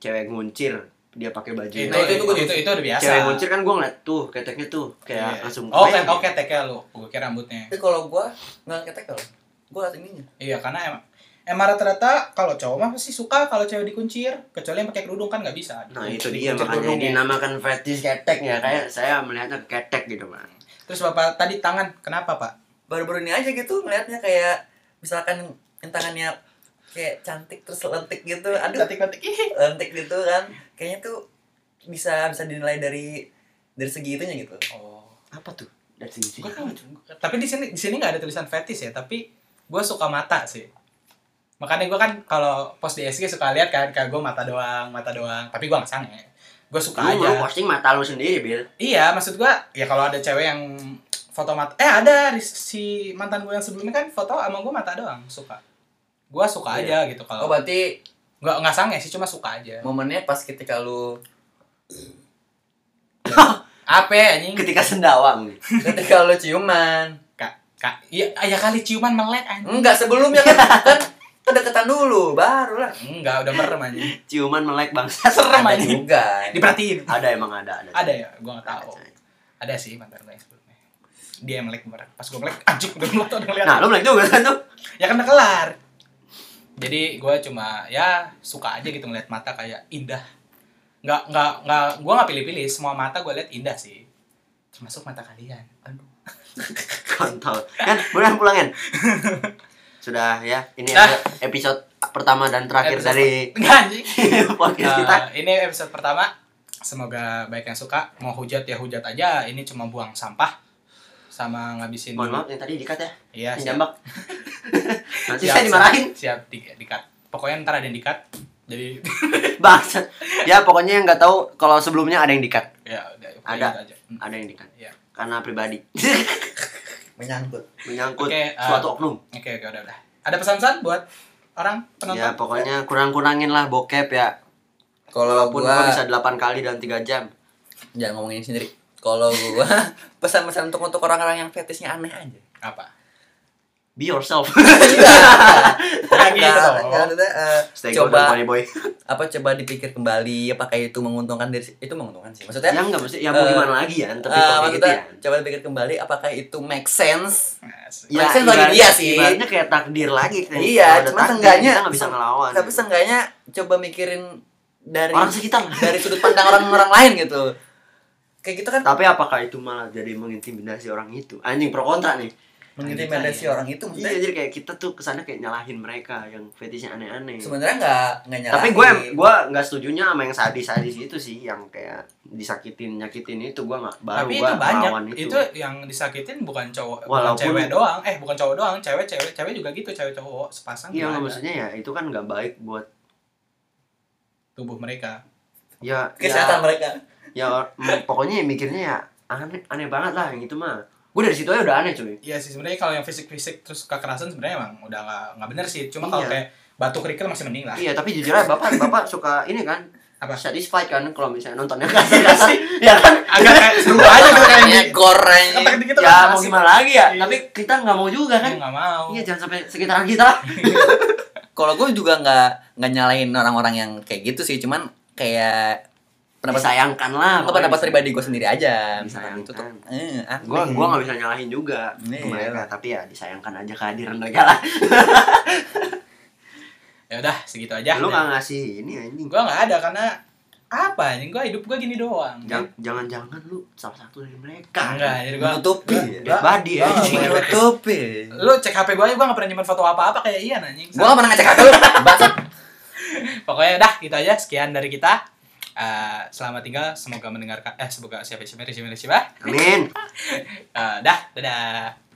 S3: cewek nguncir dia pakai baju
S1: itu
S2: Nah,
S1: itu
S2: itu
S1: itu,
S2: gua
S1: itu, itu udah biasa
S3: cewek nguncir kan gua ngeliat tuh keteknya tuh kayak
S1: Iya.
S3: langsung
S1: oh kan
S3: kebayang ya.
S1: oke teknya lu gue kira rambutnya
S2: tapi kalau gue nggak ketek kalau gue liat ininya
S1: iya karena emang emang rata-rata kalau cowok mah pasti suka kalau cewek dikuncir kecuali yang pakai kerudung kan nggak bisa
S3: Nah
S1: Dikuncir-
S3: itu dia
S1: dikuncir
S3: makanya
S1: kerudungnya.
S3: dinamakan fetish ketek ya kayak saya melihatnya ketek gitu mah.
S1: terus bapak tadi tangan kenapa pak
S2: baru-baru ini aja gitu ngeliatnya kayak misalkan yang tangannya kayak cantik terus lentik gitu aduh
S1: ketik
S2: lentik gitu kan kayaknya tuh bisa bisa dinilai dari dari segi itunya gitu
S1: oh
S3: Apa tuh? Dari sini.
S1: Gua kan tahu, Jung. tapi di sini di sini nggak ada tulisan fetish ya tapi gue suka mata sih makanya gue kan kalau post di SG suka lihat kan kayak gue mata doang mata doang tapi gue nggak sange gue suka
S3: Lu
S1: aja
S3: lu posting mata lu sendiri, Bil.
S1: iya maksud gue ya kalau ada cewek yang foto mata eh ada di- si mantan gue yang sebelumnya kan foto sama gue mata doang suka gue suka
S3: Iya.
S1: aja gitu
S2: oh
S1: kalau
S2: berarti
S1: nggak nggak sange sih cuma suka aja
S2: momennya pas ketika lu
S1: apa ya, anjing
S3: Ketika sendawang.
S2: ketika lu ciuman
S1: kak kak iya ya kali ciuman melek anjing
S2: enggak sebelumnya kan kan kedekatan dulu baru lah
S1: enggak udah merem
S3: (laughs)
S1: anjing
S3: ciuman melek bangsa
S1: Serem
S2: Ada
S1: anjing.
S2: juga
S1: diperhatiin
S3: ada emang ada ada
S1: ada ya gue nggak tahu
S3: Ada.
S1: ada sih mantan gue yang sebelumnya dia yang melek kemarin pas gue melek anjing udah melek udah ngeliat
S3: nah lu melek juga (laughs) kan tuh
S1: ya kan udah kelar jadi gue cuma ya suka aja gitu ngeliat mata kayak indah nggak nggak nggak gue nggak pilih-pilih semua mata gue liat indah sih termasuk mata kalian aduh (laughs)
S3: kontol kan buruan pulangan sudah ya ini
S1: Dah.
S3: episode- episode pertama dan terakhir
S1: Episode
S3: dari
S1: nggak anjing
S3: (laughs)
S1: Eh,
S3: podcast Iya, kita
S1: ini episode pertama semoga banyak yang suka mau hujat ya hujat aja ini cuma buang sampah sama ngabisin
S3: mohon maaf yang tadi dikat ya
S1: iya siap. (laughs) Ya,
S3: yang jambak nanti
S1: Siap,
S3: saya dimarahin (laughs)
S1: siap di, dikat pokoknya ntar ada yang dikat jadi
S3: bangsat ya pokoknya yang nggak tahu kalau sebelumnya ada yang dikat
S1: ya udah pokoknya
S3: Ada.
S1: gitu aja. Hmm.
S3: ada yang dikat
S1: Iya.
S3: karena pribadi (laughs)
S2: menyangkut
S3: menyangkut
S1: Oke, eh,
S3: suatu oknum
S1: oke oke udah udah ada pesan-pesan buat orang penonton
S3: ya pokoknya kurang-kurangin lah bokep ya
S2: kalau
S3: walaupun gua
S2: gua
S3: bisa 8 kali dalam 3 jam
S2: jangan ngomongin sendiri kalau gua (laughs) pesan-pesan untuk untuk orang-orang yang fetishnya aneh aja
S1: apa
S3: (laughs) be yourself (laughs)
S2: Iya, (laughs)
S1: Nggak
S2: Nggak,
S1: gitu dong.
S2: nggak, maksudnya, eh,
S3: stay gold
S2: coba
S3: money boy
S2: apa coba dipikir kembali apakah itu menguntungkan diri itu menguntungkan sih maksudnya
S3: ya enggak mesti ya mau
S2: Eh,
S3: gimana lagi ya tapi
S2: eh,
S3: kalau kayak gitu
S2: maksudnya
S3: ya
S2: coba dipikir kembali apakah itu make sense
S1: Asik.
S3: Iya,
S2: Make sense bagi
S3: ibarat-
S2: dia sih.
S3: Ya, Ibaratnya kayak takdir lagi. Kayak kalau
S2: Iya,
S3: ada
S2: cuma
S3: takdir,
S2: seenggaknya-
S3: kita nggak bisa ngelawan.
S2: tapi seenggaknya coba mikirin dari
S3: orang sekitar.
S2: (laughs)
S3: (laughs)
S2: dari sudut pandang orang-orang lain gitu kayak gitu kan
S3: Tapi apakah itu malah jadi mengintimidasi orang itu? Anjing pro kontra nih.
S2: gitu mengintimidasi
S1: Iya.
S2: orang itu
S3: Iya,
S2: maksudnya
S3: jadi kayak kita tuh kesannya kayak nyalahin mereka yang fetishnya aneh-aneh.
S2: sebenarnya nggak nggak nyalahin
S3: Tapi gue gue nggak setujunya sama yang sadis-sadis itu sih, yang kayak disakitin nyakitin itu gue nggak baru
S1: tapi
S3: gue
S1: itu banyak
S3: melawan
S1: itu.
S3: itu. Iya,
S1: yang disakitin bukan cowok bukan
S3: Walaupun-
S1: cewek doang eh bukan cowok doang cewek cewek cewek juga gitu cewek cowok sepasang juga
S3: Iya
S1: ada.
S3: maksudnya ya itu kan nggak baik buat
S1: tubuh mereka
S3: ya ya,
S2: kesehatan mereka
S3: ya or- m- pokoknya ya mikirnya ya aneh aneh banget lah yang itu mah. Gue dari situ aja udah aneh cuy.
S1: iya sih sebenarnya kalau yang fisik fisik terus kekerasan sebenarnya emang udah nggak nggak bener sih cuma kalau
S3: Iya.
S1: kayak batu kerikil masih mending lah
S3: Iya, tapi jujur aja bapak bapak suka ini kan
S1: Apa?
S3: satisfied kan kalau misalnya
S1: (laughs)
S3: nontonnya kasar-kasar. ya kan?
S1: agak kayak seru
S3: (laughs)
S1: aja gitu kayak
S2: Kayaknya goreng
S1: ketek dikit
S3: Iya, ya mau gimana lagi ya?
S1: Iya.
S3: Tapi kita nggak mau juga kan?
S1: nggak mau
S3: Iya, jangan sampai sekitaran kita.
S2: kalau gue juga nggak nggak nyalain orang-orang yang kayak gitu sih cuman kayak pendapat saya
S3: Disayangkan lah.
S2: apa pendapat pribadi gue sendiri aja
S3: Disayangkan.
S2: misalkan itu tuh eh, aneh.
S3: Gue gua
S1: Hmm.
S3: nggak bisa nyalahin juga ke
S2: Iya.
S3: mereka, tapi ya disayangkan aja kehadiran mereka lah.
S1: ya udah segitu aja
S3: Lu nggak ngasih ini anjing.
S1: gue nggak ada karena apa anjing gue hidup gue gini doang
S3: Jang- Jangan-jangan lu salah satu dari mereka.
S1: Enggak, jadi gua
S2: menutupi
S3: Bad body
S1: gua-
S2: Iya,
S3: anjing.
S1: gua-
S2: menutupi
S1: Lu cek HP gue aja gue gak pernah nyimpan foto apa-apa kayak Ian anjing
S2: gue nggak pernah ngecek hak lu bangsat
S1: Pokoknya dah gitu aja sekian dari kita Eh, Selamat tinggal semoga mendengarkan Eh semoga siapa siapa siapa siapa
S3: Amin.
S1: Eh, Dah dadah